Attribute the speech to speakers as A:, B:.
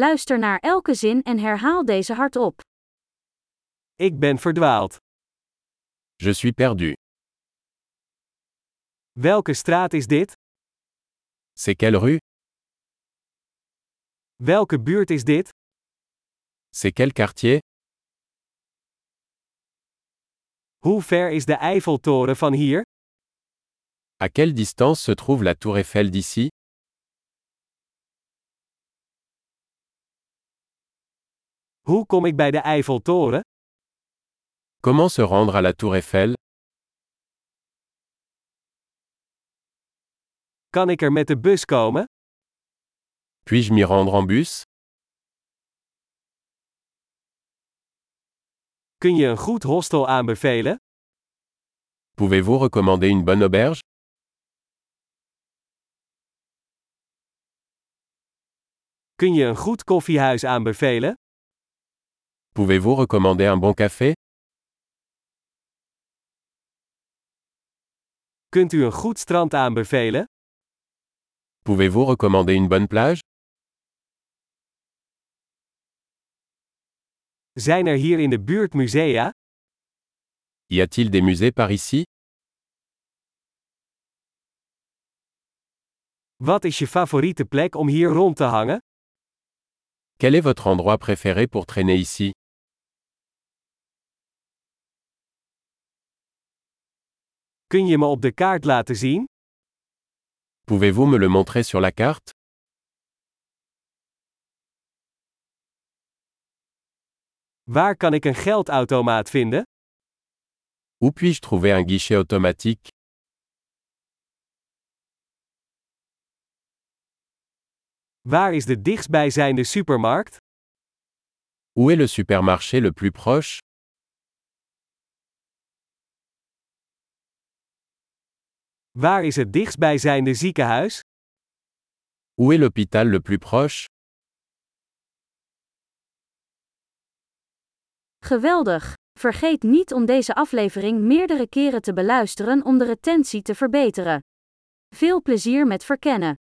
A: Luister naar elke zin en herhaal deze hardop.
B: Ik ben verdwaald.
C: Je suis perdu.
B: Welke straat is dit?
C: C'est quelle rue
B: Welke buurt is dit?
C: C'est quel quartier
B: Hoe ver is de Eiffeltoren van hier?
C: À quelle distance se trouve la tour Eiffel d'ici
B: Hoe kom ik bij de Eiffeltoren?
C: Comment se rendre à la tour Eiffel
B: Kan ik er met de bus komen?
C: Puis-je m'y rendre en bus
B: Kun je een goed hostel aanbevelen?
C: Pouvez-vous recommander une bonne auberge
B: Kun je een goed koffiehuis aanbevelen?
C: Pouvez-vous recommander un bon café
B: Kunt u een goed strand aanbevelen?
C: Pouvez-vous recommander une bonne plage
B: Zijn er hier in de buurt musea?
C: Y a-t-il des musées par ici
B: Wat is je favoriete plek om hier rond te hangen?
C: Quel est votre endroit préféré pour traîner ici
B: Kun je me op de kaart laten zien?
C: Pouvez-vous me le montrer sur la carte
B: Waar kan ik een geldautomaat vinden?
C: Où puis-je trouver un guichet automatique
B: Waar is de dichtstbijzijnde supermarkt?
C: Où est le supermarché le plus proche
B: Waar is het dichtstbijzijnde ziekenhuis?
C: Où est l'hôpital le plus proche
A: Geweldig! Vergeet niet om deze aflevering meerdere keren te beluisteren om de retentie te verbeteren. Veel plezier met verkennen!